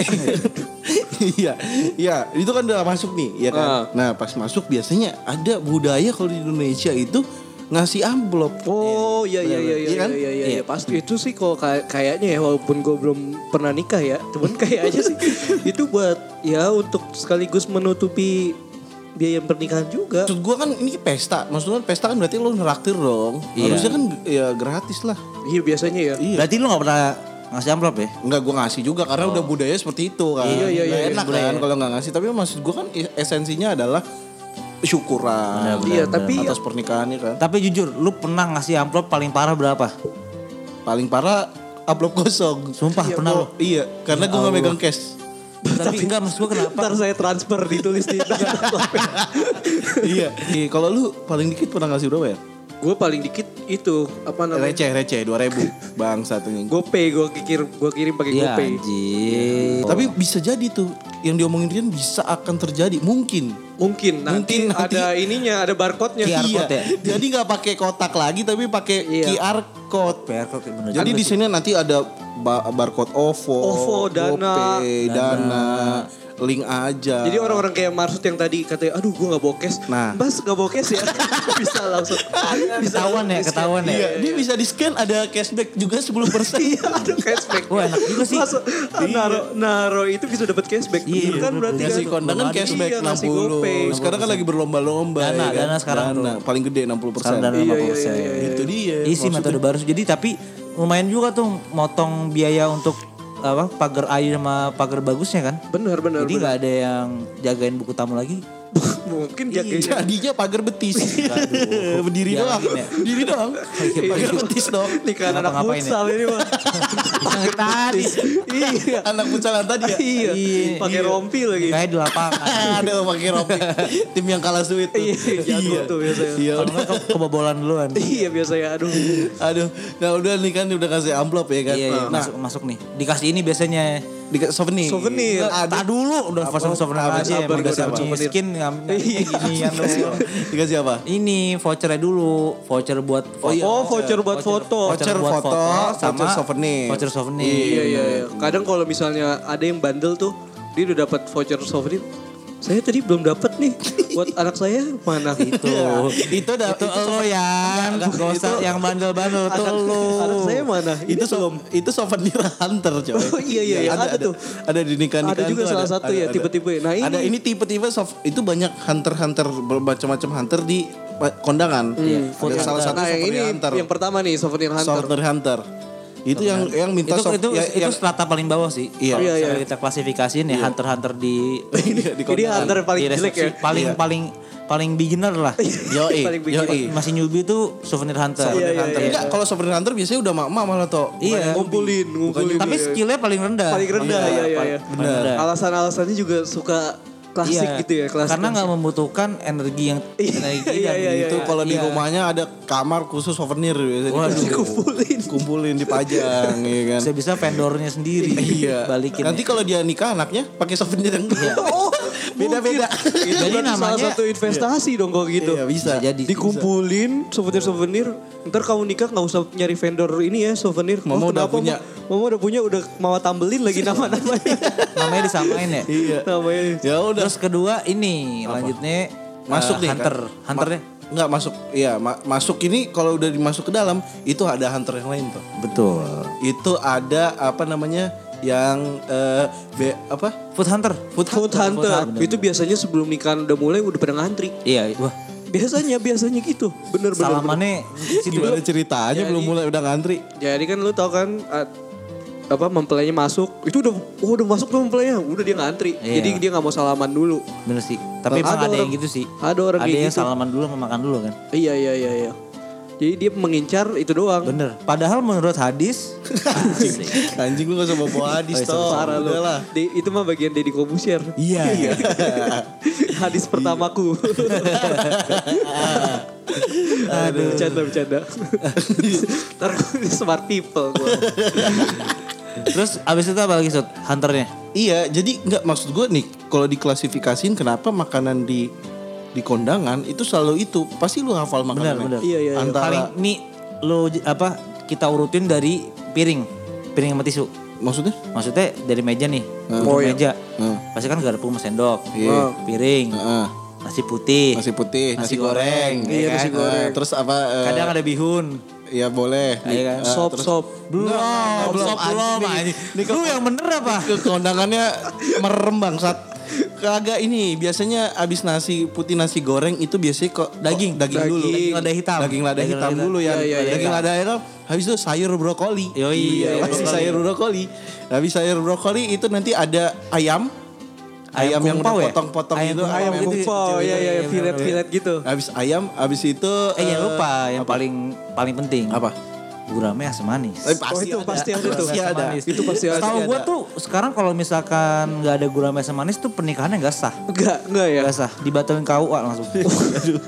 Iya, iya, itu kan udah masuk nih, ya kan.
Ah.
Nah, pas masuk biasanya ada budaya kalau di Indonesia itu ngasih amplop.
Oh iya iya iya
Iya
iya
kan?
iya iya
Iya.
iya pasti itu sih kalau kay- kayaknya ya walaupun gue belum pernah nikah ya cuman [LAUGHS] kayaknya sih itu buat ya untuk sekaligus menutupi biaya pernikahan juga.
Maksud gua kan ini pesta, maksudnya pesta kan berarti lo neraktir dong.
Iya.
Harusnya kan ya gratis lah.
Iya biasanya ya.
Iya.
Berarti lu gak pernah ngasih amplop ya?
Enggak gue ngasih juga karena udah budaya seperti itu
Oh.
kan.
Iya, iya,
Nggak
iya,
enak kan kalau nggak ngasih. Tapi maksud gue kan i- esensinya adalah syukuran
Iya tapi
atas pernikahannya kan.
Tapi jujur, lu pernah ngasih amplop paling parah
[LAUGHS]
berapa?
Paling parah amplop kosong.
Sumpah, pernah
Gua-
lu.
Iya, karena gue nggak megang cash.
Tapi enggak, maksud gue kenapa?
ntar saya transfer ditulis di
[LAUGHS]
[LAUGHS]
iya. Iya, Kalau lu paling dikit pernah ngasih berapa ya?
Gue paling dikit itu apa namanya?
Receh, receh, dua ribu bang satunya.
GoPay gue kirim gue kirim pakai
Iya
GoPay.
anjir.
Tapi bisa jadi tuh yang diomongin Rian bisa akan terjadi mungkin.
Mungkin nanti,
Mungkin nanti-
ada ininya, ada barcode-nya.
QR
iya.
code ya?
[LAUGHS] Jadi nggak pakai kotak lagi tapi pakai
Iya.
QR code.
PR kok kayak bener.
Jadi di sini nanti ada ba- barcode OVO,
OVO, Dana.
GoPay, Dana, link aja.
Jadi orang-orang kayak Marsud yang tadi katanya, aduh gue gak bawa cash.
Nah.
Mas gak bawa cash ya? [LAUGHS] bisa langsung. bisa
Ketahuan ya,
langsung
ketahuan
di-scan.
Iya,
ya.
dia bisa di-scan ada cashback juga 10%.
Iya, ada cashback.
Wah, enak juga sih.
Masuk, naro, naro itu bisa dapat cashback.
Iya,
Bener kan
bener-bener.
berarti
Ngasih
kan?
kondangan cashback
iya, ngasih
60.
GoPay.
Sekarang kan lagi berlomba-lomba
Dana,
ya kan?
Dana sekarang
Dana, paling gede 60%.
Sekarang dana
Iya, iya,
50%.
iya, iya.
Itu dia.
Isi
maksudnya.
metode baru. Jadi tapi lumayan juga tuh motong biaya untuk apa pagar air sama pagar bagusnya kan.
Bener, bener,
Jadi
bener.
nggak ada yang jagain buku tamu lagi.
[LAUGHS] Mungkin jaganya.
Jadinya pagar betis. [LAUGHS] Berdiri
Iya,
doang.
gini ya.
Berdiri doang. [LAUGHS] Pagar betis dong.
Nikahan Iya. anak
iya. Ngapa-ngapain ya?
futsal ini mah.
Yang tadi
Iya.
Anak puncalan
[LAUGHS]
tadi ya.
Iya. Pakai rompi lagi.
kayak di
[LAUGHS]
lapangan.
ada lo pakai rompi. Tim yang kalah duit tuh.
Iya, jago tuh biasanya.
Iya.
Kalau nggak ke- kebobolan duluan.
Iya biasanya aduh.
Aduh, nah udah nih kan udah kasih amplop ya kan.
Iya, iya,
Nah,
masuk masuk nih. Dikasih ini biasanya
di souvenir.
Souvenir.
Tak dulu udah pasang souvenir
apa,
aja
apa,
emang udah
udah
siap
apa.
miskin ngambil
Iya. [LAUGHS]
ginian doang.
Nah, Dikasih apa?
Ini vouchernya dulu, voucher buat foto.
Oh, voucher buat foto.
iya. Voucher
buat
foto,
sama
voucher souvenir.
Voucher souvenir.
Iya iya iya. Kadang kalau misalnya ada yang bandel tuh, dia udah dapat voucher souvenir. Saya tadi belum dapat nih buat anak saya mana itu.
Itu udah
Iya. Itu lo yang gak usah yang bandel-bandel
[LAUGHS]
tuh
Anak,
lo.
anak saya mana?
itu belum itu souvenir hunter coy.
Oh, iya, iya, iya, ada tuh.
Ada di nikah
Ada juga salah satu ya, tipe-tipe. Nah, ini-
ada ini tipe-tipe soft itu banyak hunter-hunter bermacam-macam hunter di pa- kondangan.
food
Ada salah
hunter.
satu
Nah yang
souvenir
ini
hunter.
yang pertama nih souvenir hunter.
Souvenir hunter. Itu yang yang minta
Itu
sov-
itu
ya-
itu
yang-
strata paling bawah sih.
Iya.
Kalau
Iya, iya.
misalnya kita klasifikasiin ya hunter-hunter di
Iya, di
Jadi
kondangan.
hunter paling
di
jelek ya.
resepsi. Paling paling paling beginner lah.
Yoi,
paling
yoi.
beginner.
Masih newbie tuh souvenir hunter.
Souvenir Iya,
Hunter.
iya.
ya, Enggak, kalau souvenir hunter biasanya udah mak-mak malah toh.
Iya.
Ngumpulin, ngumpulin.
Tapi skillnya paling rendah.
ya. paling rendah ya ya ya.
Iya. Paling rendah.
Alasan-alasannya juga suka klasik
Iya,
gitu ya, klasik.
Karena nggak membutuhkan energi yang
[LAUGHS] Iya,
energi
iya,
yang
iya,
Itu
itu.
Gitu, kalau di
Iya.
rumahnya ada kamar khusus souvenir biasanya.
Waduh.
Kumpulin, kumpulin dipajang ya
[LAUGHS]
kan.
Bisa-bisa vendornya sendiri
Iya.
balikin.
Nanti kalau dia nikah anaknya pakai souvenir yang [LAUGHS]
Oh,
beda-beda.
Itu
Jadi
berarti salah
namanya-
satu investasi dong kalau gitu.
Iya, bisa.
Bisa jadi.
Dikumpulin souvenir-souvenir. Ntar kamu nikah nggak usah nyari vendor ini ya souvenir.
Mama udah
kenapa,
punya.
Ma? Mama udah punya udah mama tambelin lagi nama-namanya.
namanya disamain ya.
[LAUGHS] Iya.
namanya.
Ya udah
Terus kedua ini lanjutnya
masuk
eh,
nih
hunter, hunternya.
Enggak masuk. Iya, ma- masuk ini kalau udah dimasuk ke dalam itu ada hunter yang lain tuh.
Betul.
Itu ada apa namanya yang eh be, apa?
Food hunter.
Food, hunter. Itu biasanya sebelum nikahan udah mulai udah pada ngantri.
Iya, wah.
Biasanya biasanya gitu. Bener bener. bener.
Salamannya situ.
Gimana ceritanya belum mulai udah ngantri.
Jadi kan lu tau kan ah, apa mempelainya masuk itu udah oh, udah masuk tuh mempelainya udah dia ngantri
Iya.
jadi dia nggak mau salaman dulu
Bener sih.
Ada
Tapi emang ada yang
orang-
gitu sih.
ada orang
Ada
kayak
yang
gitu.
salaman dulu sama makan dulu kan.
iya iya iya iya jadi dia mengincar itu doang
Bener. Padahal menurut hadis
Anjing lu gak usah bawa hadis toh.
Oh, iya, Parah lu.
Udahlah.
Di- itu mah bagian Deddy Kobusier.
[LAUGHS] Iya.
[LAUGHS] Hadis pertamaku. Iya. [LAUGHS] Aduh, bercanda [LAUGHS] bercanda. Ntar gua di smart people gua. [LAUGHS]
Terus abis itu apa lagi Sot? Hunternya?
Iya, jadi nggak maksud gue nih kalau diklasifikasiin kenapa makanan di di kondangan itu selalu itu pasti lu hafal
Benar,
makanannya.
benar.
Iya, iya, iya.
Antara
Paling ini lo j- apa kita urutin dari piring. Piring sama tisu.
Maksudnya?
Maksudnya dari meja nih, ujung
Oh, iya.
meja.
Hmm.
Pasti kan garpu sama sendok,
Iya.
piring,
Heeh.
Nah. nasi putih,
Nasi putih,
Nasi
nasi, goreng,
goreng,
iya,
ya
nasi goreng.
Eh, terus apa? eh,
kadang ada bihun.
Ya boleh.
Iya kan?
Eh,
Sop,
terus-
sop.
Belum, belum,
belum,
belum,
anjing.
anjing. Lu yang bener apa?
Ke kondangannya merem bangsat. Kagak ini biasanya abis nasi putih nasi goreng itu biasanya kok
Oh, Daging.
daging, dulu.
Daging lada hitam.
Daging lada
Daging
hitam
lada
dulu ya.
hitam. Iya, iya,
daging
iya.
lada hitam habis itu sayur brokoli.
Yoi, iya,
pasti
brokoli.
sayur brokoli. Habis sayur brokoli itu nanti ada ayam. Ayam,
Ayam
yang udah
kumpau ya?
potong-potong
Ayam
gitu,
kumpau
Ayam
ayam
gitu.
kumpau,
Iya,
ya
iya,
ya
iya,
filet-filet gitu.
Habis ayam, habis itu
Eh jangan
eh,
lupa yang paling paling penting.
apa?
Gurame asam manis.
Eh,
Oh itu pasti ada tuh.
Pasti ada.
Itu pasti ada.
Kalau gua tuh sekarang kalau misalkan nggak ada gurame asam manis tuh pernikahannya nggak sah.
Enggak, enggak ya.
Nggak sah, dibatalin KUA langsung. Oh,
Aduh.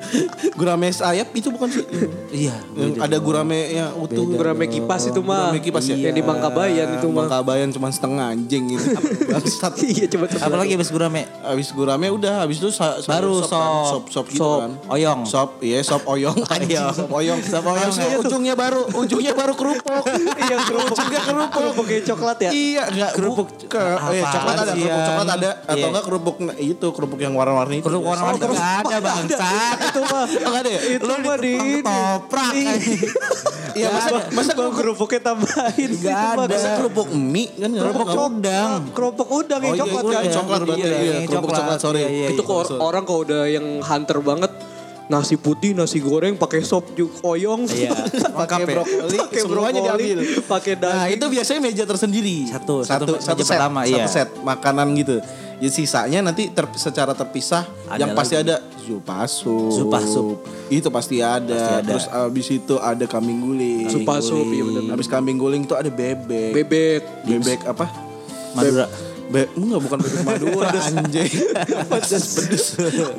Gurame sayap itu bukan sih.
[LAUGHS] iya. beda
Yang ada
dong.
gurame yang utuh.
Gurame kipas Iya, itu mah.
Gurame kipas ya?
Yang di
Iya,
Bangkabayan itu mah.
Bangkabayan cuma setengah anjing
[LAUGHS]
gitu. Bangsat.
[LAUGHS] Iya coba coba.
Apalagi abis gurame?
Habis gurame udah, habis itu sa- sa-
Baru
kan?
sop.
sop sop gitu
Sop.
kan.
Oyong.
Sop, iya sop oyong.
[LAUGHS]
Anjing, sop oyong. Sop oyong. ujungnya baru, ujungnya baru kerupuk.
Iya kerupuk. Juga kerupuk. Kerupuk coklat ya.
Iya, enggak kerupuk. Ke, oh iya,
Apaan
coklat ada,
sih,
kerupuk
Yan?
coklat ada atau
Iya.
enggak kerupuk itu kerupuk yang warna-warni.
Perlu orang
terus-
nggak ada bangsat. Iya
Itu mah.
Oh, enggak ada ya?
Itu mah di ini.
Toprak.
Iya, masa masa
Kok kerupuknya tambahin sih?
Nggak
Itu mah.
ada.
masa kerupuk mie kan nggak
Kerupuk
apa-apa.
udang.
Kerupuk udang
Oh
yang
iya,
coklat
iya,
kan.
iya.
coklat
Iya,
bener,
iya,
iya, kerupuk
coklat.
coklat, sorry.
Iya, iya,
Itu kok or- orang kalau udah yang hunter banget nasi putih, nasi goreng, pakai sop juga koyong.
Iya.
pakai
Lengkap ya.
brokoli,
Pakai
semuanya
brokoli,
diambil.
pakai daging.
Nah, itu biasanya meja tersendiri.
Satu,
satu,
satu
satu,
meja
set,
pertama,
satu
iya.
set makanan gitu. Ya sisanya nanti ter- secara terpisah
Ada
yang pasti
lagi.
ada zupasup.
Zupa sup.
Itu pasti ada.
Pasti ada.
Terus abis itu ada kambing guling.
Supa sup, iya bener.
Abis kambing guling itu ada
[LAUGHS]
bebek.
Bebek.
bebek apa?
Madura.
Be be- enggak bukan bebek Madura anjing. Pedes pedes.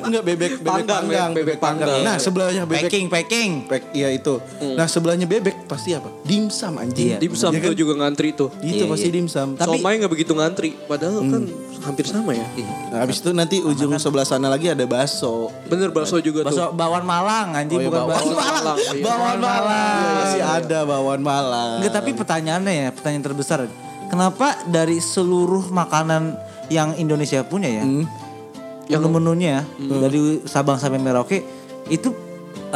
Enggak bebek bebek
Panggang,
panggang,
bebek panggang.
Nah, sebelahnya bebek
Packing, packing.
Pek, iya itu. Nah sebelahnya bebek pasti apa? Dimsum anjing.
Iya.
Dimsum tuh juga ngantri tuh.
Itu
Iya,
pasti
iya.
dimsum.
Tapi nggak begitu ngantri, padahal
Hmm.
kan hampir sama ya.
Iya.
Nah, habis itu nanti ujung sebelah sana lagi ada bakso.
Bener bakso juga tuh.
Bakso bawan Malang anjing
Oh, iya,
bukan
bawan
bakso
Malang.
Malang.
Iya.
Bawan Malang.
iya, Masih ada bawaan malang.
Enggak, tapi pertanyaannya ya, pertanyaan terbesar. Kenapa dari seluruh makanan yang Indonesia punya ya,
Hmm.
yang menu-menunya ya, dari Sabang sampai Merauke itu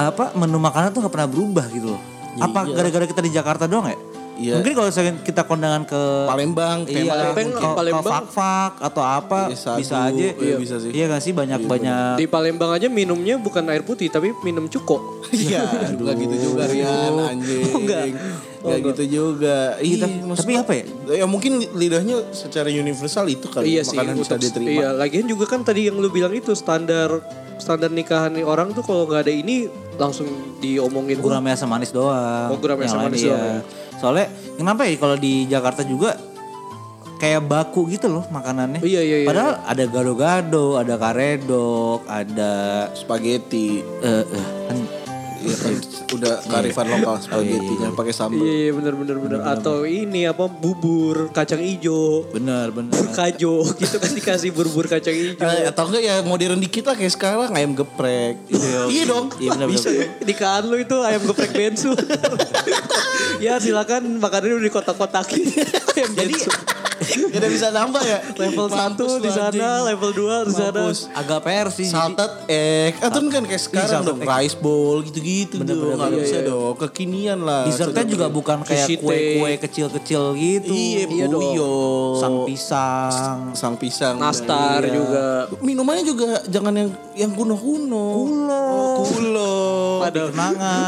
apa menu makanan tuh nggak pernah berubah gitu loh. apa gara-gara kita di Jakarta doang ya?
Iya.
Mungkin kalau misalnya kita kondangan ke
Palembang,
Iya,
Palembang,
ke,
Palembang.
ke fak-fak atau apa
Iya, satu.
bisa aja.
Iya, bisa sih.
Iya nggak sih banyak-banyak
Di Palembang aja minumnya bukan air putih tapi minum cuko.
Iya, juga gitu juga Rian anjing.
Oh, enggak. Oh,
Enggak
enggak.
gitu juga. Iya,
tapi-
maksud
tapi
gua-
apa ya?
Ya mungkin lidahnya secara universal itu kali ya,
iya sih.
makanan bisa
untuk-
diterima.
Iya, lagian juga kan tadi yang lu bilang itu standar standar nikahan nih orang tuh kalau nggak ada ini langsung diomongin "Wah,
gurame asam manis doang.
Oh, gurame
Yang
asam
lain
manis
iya.
doang ya.
Soalnya kenapa ya kalau di Jakarta juga kayak baku gitu loh makanannya.
Iya, iya, iya.
Padahal ada gado-gado, ada karedok, ada
Spaghetti.
eh, eh, kan-
Iya, kan, udah karifan lokal spaghetti jangan pakai sambal.
Iya, iya bener bener bener. Atau ini apa bubur kacang ijo,
bener bener.
kajo [LAUGHS] gitu kan dikasih bubur kacang ijo.
Eh, atau enggak ya modern dikit lah kayak sekarang ayam geprek. iya dong.
Iya bener
Bisa.
bener.
Nikahan lu itu ayam geprek bensu. [LAUGHS] ya silakan makanannya udah dikotak-kotakin. [LAUGHS] ayam bensu.
Ya udah bisa nambah ya.
Level
Mampus
satu
lu
di sana,
anjing.
level 2 di sana.
Mampus.
Agak PR sih. jadi-
Salted egg. Ah, itu kan kayak sekarang
salted
dong. Rice bowl gitu-gitu dong. Gak bisa dong. Kekinian lah.
Dessertnya juga bukan
Sushi
kayak kue-kue
teh.
kecil-kecil gitu.
Iya,
Iya dong.
puyo.
Sang pisang.
Sang pisang.
Nastar juga.
Iya. Minumannya juga jangan yang yang kuno-kuno. Kulo. Kulo.
Pada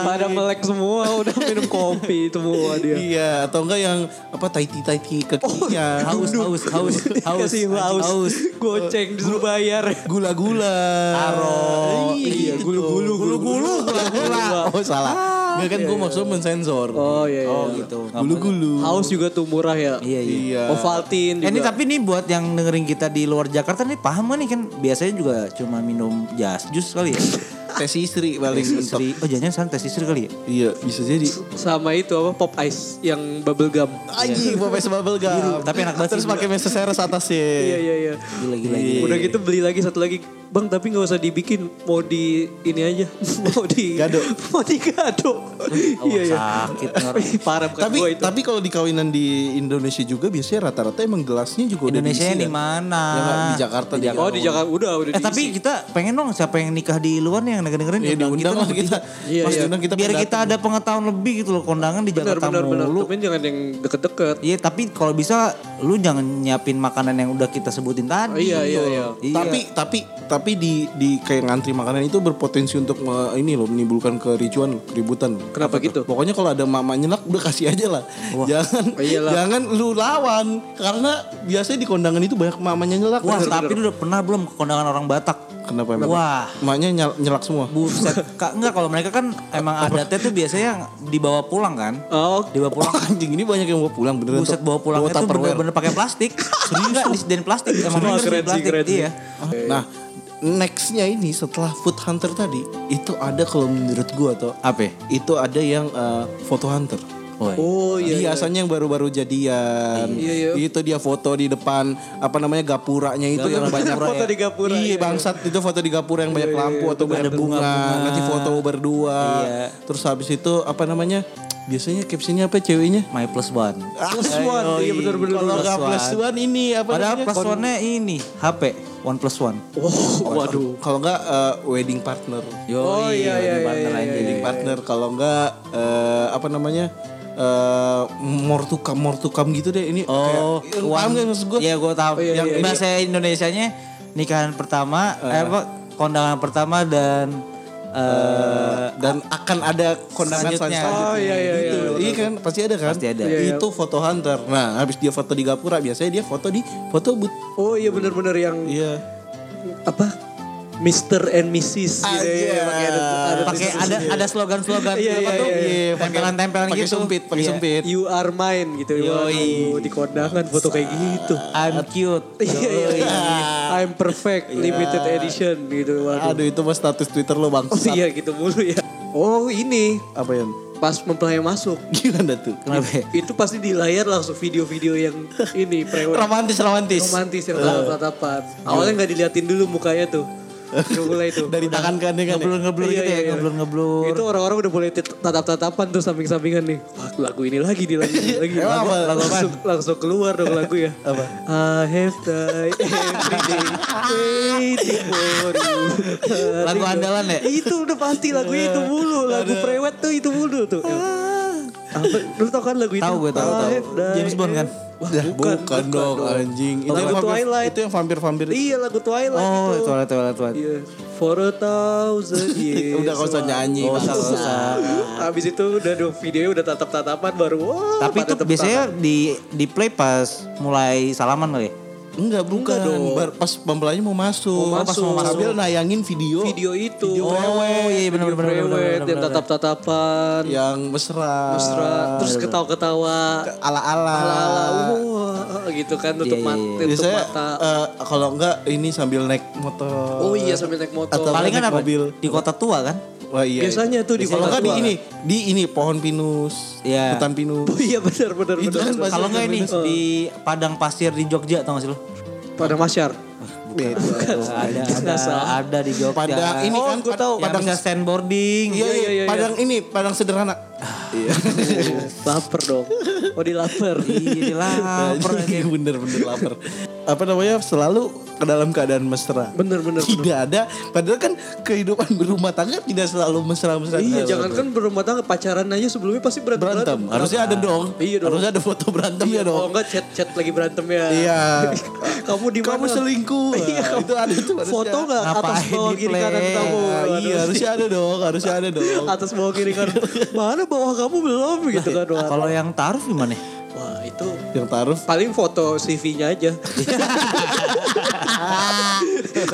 pada melek semua udah minum kopi semua dia.
Iya, atau enggak yang apa taiti-taiti kekinian.
Haus, haus, haus,
[LAUGHS]
haus,
Kasih haus,
haus.
goceng disuruh bayar.
gula-gula
Aro.
iya gulu-gulu gulu-gulu gula-gula oh salah nggak kan gue maksud mensensor
Oh iya. iya.
Gitu.
gulu-gulu
Haus juga tuh murah ya.
Iya, iya.
iya
Ovaltine juga.
Eh, ini tapi nih buat yang dengerin kita di luar Jakarta nih paham gak nih kan biasanya juga cuma minum jas jus kali
[LAUGHS]
ya.
tes istri paling
Tes istri. Oh jangan jangan tes istri kali ya.
iya bisa jadi
sama itu apa pop ice yang bubble gum.
anjing bapak sebabel gak
Biru, tapi enak banget
terus
sih,
pakai meseseres atasnya
Iya iya iya.
Gila gila gila.
Udah gitu beli lagi satu lagi Bang tapi nggak usah dibikin, mau di ini aja, [LAUGHS] mau di
Gado.
[LAUGHS] mau di gado. Iya iya.
sakit nih orang.
Parah bukan
Tapi
gua itu.
tapi kalau di kawinan di Indonesia juga biasanya rata-rata emang gelasnya juga udah
Indonesia
diisi
di
kan?
mana?
Ya nggak, di Jakarta di
oh di Jakarta udah udah.
Eh tapi
diisi.
kita pengen dong siapa yang nikah di luar nih yang dengerin
Ya, diundang lah kita.
Iya,
Mas
iya.
diundang kita
biar kita
pendatang.
ada pengetahuan lebih gitu loh kondangan di
benar
Jakarta
benar benar.
mulu.
Tapi jangan yang deket-deket.
Iya tapi kalau bisa lu jangan nyiapin makanan yang udah kita sebutin
Oh,
tadi. gitu
iya iya iya.
Tapi tapi tapi di di kayak ngantri makanan itu berpotensi untuk eh, ini loh menimbulkan kericuan, loh, keributan. loh.
Kenapa gitu?
Pokoknya kalau ada mama nyenak udah kasih aja lah. Jangan
Oh, iyalah.
jangan lu lawan karena biasanya di kondangan itu banyak mamanya nyelak.
Wah
Bener.
tapi lu udah pernah belum ke kondangan orang Batak?
Kenapa emang?
Wah.
Emaknya nyel- nyelak semua. [LAUGHS]
Buset. Kak enggak kalau mereka kan emang adatnya tuh biasanya dibawa pulang kan?
Oh,
Dibawa pulang.
Wah, anjing ini banyak yang bawa pulang beneran.
Buset
tuh.
bawa pulangnya tuh
Tupperware.
bener-bener pakai plastik. Serius enggak disediain plastik
Serius,
emang bener
keren sih,
disediain plastik.
keren sih.
Iya.
Nah, nextnya ini setelah Food Hunter tadi itu ada kalau menurut gua tuh
Apa?
itu ada yang eh, Foto Hunter.
Woi.
oh iya. iya.
Biasanya yang baru-baru jadian,
Iya, iya.
itu dia foto di depan apa namanya gapuranya itu yang banyak
Foto di gapura, iya.
Iya, bangsat itu foto di gapura yang banyak lampu atau banyak bunga, nanti foto berdua.
Iya.
Terus habis itu apa namanya? Biasanya captionnya apa ceweknya?
My plus one.
Plus one, iya benar benar.
Kalau
benar.
nggak plus one ini apa
Padahal
namanya?
plus one-nya ini HP One plus one.
Oh, waduh.
Kalau nggak eh, wedding partner.
Yo,
Oh, iya, iya, iya, iya,
Wedding partner kalau nggak eh, apa namanya? eh mortukam mortukam gitu deh ini
Oh,
kayak, eh, paham
one-
nggak maksud gue
Iya, gue tahu.
iya,
yang
iya.
bahasa Indonesianya nikahan pertama, eh, apa kondangan pertama dan eh
dan akan ada kondangan
Selanjutnya.
selanjutnya.
Oh, iya, iya, iya,
Gitu. Iya kan pasti ada kan?
Pasti ada.
Iya, iya.
Itu foto hunter. Nah, habis dia foto di gapura biasanya dia foto di foto booth.
Oh iya benar benar yang
Iya.
apa? Mr. and Mrs. gitu
Aja.
ya. Pakai ada, ada
eh, pakai ada ada slogan-slogan
Iya,
apa
iya,
tuh?
iya,
Iya, pakai-
Tempelan-tempelan
pakai
gitu.
sumpit, pakai
Iya.
sumpit.
You are mine gitu. Waduh, di kondangan foto kayak gitu.
I'm cute.
Iya, iya, iya. I'm perfect limited edition gitu. Waduh.
Aduh itu mah status Twitter lo bang.
Oh, iya gitu mulu ya. Oh ini
Apa yang?
pas mempelai masuk
Gimana tuh?
Kenapa? ya?
itu pasti di layar langsung video-video yang ini pre
Romantis romantis.
romantis yang tatap-tatapan. Awalnya nggak diliatin dulu mukanya tuh. Udah mulai tuh.
Dari tangan kan ya kan? ya?
Ngeblur-ngeblur
Iya,
gitu ya,
iya, iya.
ngeblur-ngeblur.
Itu orang-orang udah boleh tit- tatap-tatapan tuh samping-sampingan nih. Wah, lagu ini lagi nih lagi ini
[LAUGHS]
lagi.
Emang apa?
Lagu- langsung, langsung keluar dong lagu ya. Apa? I have died every day waiting for you.
Lagu andalan ya? Iya.
Itu udah pasti lagu itu mulu. Lagu prewed tuh itu mulu tuh. Apa? Lu tau kan lagu itu?
Tahu gue
I
tahu tahu.
have died
James Bond kan?
every- Wah,
Dah,
bukan,
bukan dong anjing. Itu
Lagu
yang vampir,
Twilight.
itu yang vampir-vampir.
Iya lagu Twilight
Oh,
itu.
toilet toilet toilet.
Iya. For a thousand
[LAUGHS]
years.
Udah kau usah nyanyi.
Gak usah,
Bang.
gak usah.
nah, Habis itu udah dong video udah tatap-tatapan baru. "Oh, Wah, pada
Tapi itu
tepuk
biasanya di di play pas mulai salaman kali. ya?
Enggak bukan.
Enggak dong.
Bar- Pas pembelanya mau masuk.
Mau
Pas
masuk.
Sambil nayangin video.
tangan. video itu.
Oh, iya, iya, benar,
Video
benar, benar,
prewed,
benar, benar,
yang
benar.
tatap-tatapan.
Yang mesra.
mesra, terus ketawa-ketawa.
Ala-ala.
Ala-ala. Wah, gitu kan tutup,
Iya,
mat-
iya,
tutup
Biasanya
mata.
eh, kalau enggak ini sambil naik motor.
Oh iya sambil naik motor.
Atau-
Palingan kan
naik
apa?
mobil.
Di kota tua kan?
Wah, iya,
Biasanya tuh di
Kalau
kota
enggak di
tua.
ini, di ini pohon pinus,
Iya.
hutan pinus.
Oh [LAUGHS] iya benar benar
Itu
benar.
kan
benar.
Masih
Kalau enggak ini
sambil
di padang pasir di Jogja tau gak sih lo?
pada masyar.
Beda.
Ada ada
Jenazah.
ada di Jogja.
Padang ini
Oh,
kan
gua
pad-
tahu.
yang
padang
bisa sandboarding.
Iya,
Iya,
iya,
iya, iya.
padang ini, padang sederhana. Iya.
Laper dong. Oh di laper.
Iya lah.
Iya, bener-bener lapar. [LAUGHS] Apa namanya? Selalu ke dalam keadaan mesra.
Bener bener. bener.
Tidak ada, padahal kan kehidupan berumah tangga tidak selalu mesra-mesra.
Iya,
Tidak
jangan
selalu.
kan berumah tangga pacaran aja sebelumnya pasti berantem.
berantem. Harusnya ada dong.
Iya dong.
Harusnya ada foto berantem ya
Iya
dong.
Oh enggak chat chat lagi berantem ya.
Iya.
kamu di mana?
Kamu selingkuh.
Iya,
Nah,
kamu-
itu ada tuh harusnya.
Foto nggak atas
Ngapain
bawah
di
kiri
play?
kanan kamu?
Nah, iya,
Aduh,
harusnya ada dong, harusnya ada dong.
[LAUGHS] atas bawah kiri kanan. Mana bawah kamu belum gitu kan? Wah,
Kalau yang taruh gimana?
Wah itu
Yang taruh
paling foto CV-nya aja.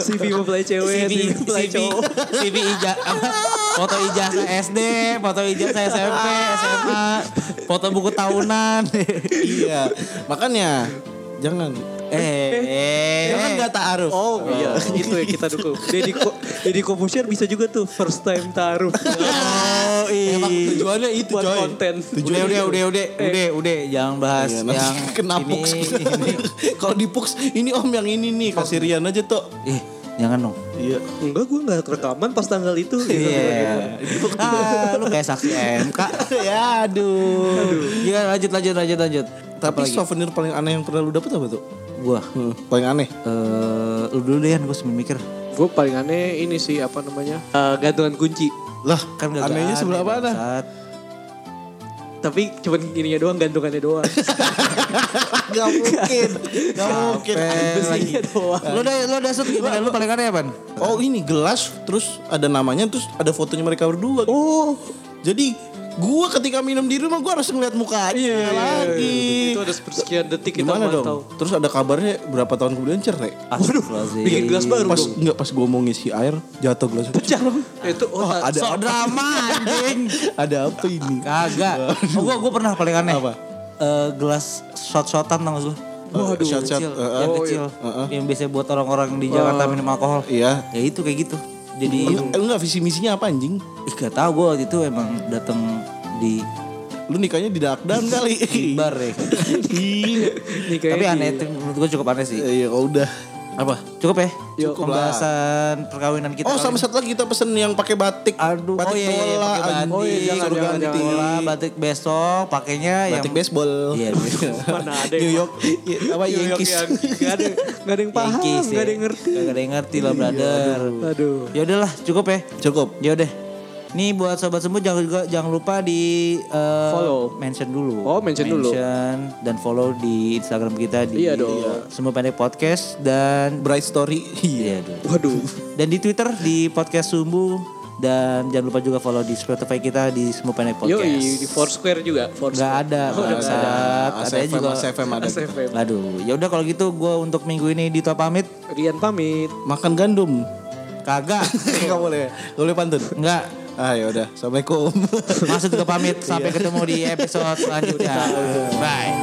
CV mempelai cewek, CV, mempelai
CV,
cowok.
CV ija- apa? foto ijazah SD, foto ijazah SMP, SMA, foto buku tahunan.
[LAUGHS] iya. Makanya jangan
eh, eh,
jangan
eh.
nggak taaruf.
Oh iya, itu yang kita dukung. Deddy, Ko- Deddy Corbuzier bisa juga tuh first time taruh.
Oh, iya.
Emang tujuannya itu
Buat
coy.
konten. Eh.
Udah, udah, udah, udah, udah, udah, jangan bahas
Iya, nanti
yang
kena
ini,
puks. [LAUGHS]
ini.
Kalau di puks ini om yang ini nih kasirian aja tuh.
Ih, Eh, Jangan dong.
Iya.
Enggak gue gak rekaman pas tanggal itu gitu.
Iya. Ah, lu kayak saksi
[LAUGHS]
MK. ya aduh. Ya lanjut lanjut lanjut lanjut.
Tapi souvenir paling aneh yang pernah lu dapet apa tuh?
Gua
Hmm, paling aneh.
eh lu dulu deh Yan, gue sambil mikir.
Gue paling aneh ini sih apa namanya?
Eh, gantungan kunci.
Lah,
Kan gak
anehnya sebelah mana?
Tapi cuman gininya doang gantungannya doang.
Gak Ah,
[LAUGHS]
mungkin. Gak mungkin.
Besinya doang.
Lu udah lu udah sud gimana? Lu paling aneh apa?
Oh ini gelas terus ada namanya terus ada fotonya mereka berdua. Oh. Jadi gua ketika minum di rumah gua harus ngeliat mukanya
Iya,
lagi.
Iya, Itu ada sepersekian detik kita
Gimana dong?
mantau.
Terus ada kabarnya berapa tahun kemudian cerai.
Waduh, Iya,
Bikin gelas baru
Pas
dong.
nggak pas gua mau ngisi air jatuh
[LAUGHS]
gelas.
Pecah dong. Itu oh,
ada
Sok drama
[LAUGHS]
anjing.
Ada apa
[LAUGHS]
ini?
Kagak. Oh, gua gua pernah paling aneh.
Apa?
Eh, gelas shot-shotan tau gak sih lu?
Waduh,
Yang
shot-shot,
kecil,
eh, eh.
yang
Oh,
kecil,
iya. Eh, Oh. eh.
yang biasa buat orang-orang di Jakarta minum alkohol.
Iya.
Ya itu kayak gitu. Jadi
Enggak, enggak visi misinya apa anjing?
Ih gak tau gue waktu itu emang dateng di
Lu nikahnya di
Iya.
Dakdan
[LAUGHS]
kali.
bar ya.
Ini kayaknya
Tapi
di-
aneh, itu menurut gue cukup aneh sih.
Iya, kalau udah.
Apa? Cukup ya?
Yuk.
Pembahasan perkawinan kita.
Oh,
kali
sama
ini.
satu lagi kita pesen yang pakai batik.
Aduh, oh
batik
iya, iya,
bola,
pakai batik,
anjing. suruh
jangan,
ganti.
jangan, bola, batik besok, pakainya yang
Batik baseball. [LAUGHS]
Iya, baseball.
Mana Nah, ada
New
yang-
York, iya, apa
New York
Yankees.
yang gak ada, gak ada
[LAUGHS]
yang paham,
Yankees
gak ada yang ngerti.
Gak ada yang ngerti lah, brother.
Aduh.
Ya udahlah, cukup ya.
Cukup.
Ya udah. Nih buat sobat semua jangan juga jangan lupa di eh,
Follow.
mention dulu.
Oh, mention dulu.
Mention dan follow di Instagram kita di
Iya dong.
Semua Pendek Podcast dan
Bright story.
Iya dong.
Waduh.
Dan di Twitter di Podcast Sumbu dan jangan lupa juga follow di Spotify kita di Semua Pendek
Yo,
Podcast.
di Foursquare juga.
Gak
Foursquare.
ada, bangsat. Adanya
ACFM,
juga.
ACFM ada.
SFM.
Aduh, ya udah kalau gitu gue untuk minggu ini Dito pamit.
Rian pamit.
Makan gandum. [LAUGHS]
Kagak.
Enggak boleh. Enggak boleh pantun.
Enggak.
Ah, ya udah. Assalamualaikum.
Maksud ke pamit sampai ketemu di episode selanjutnya. Bye.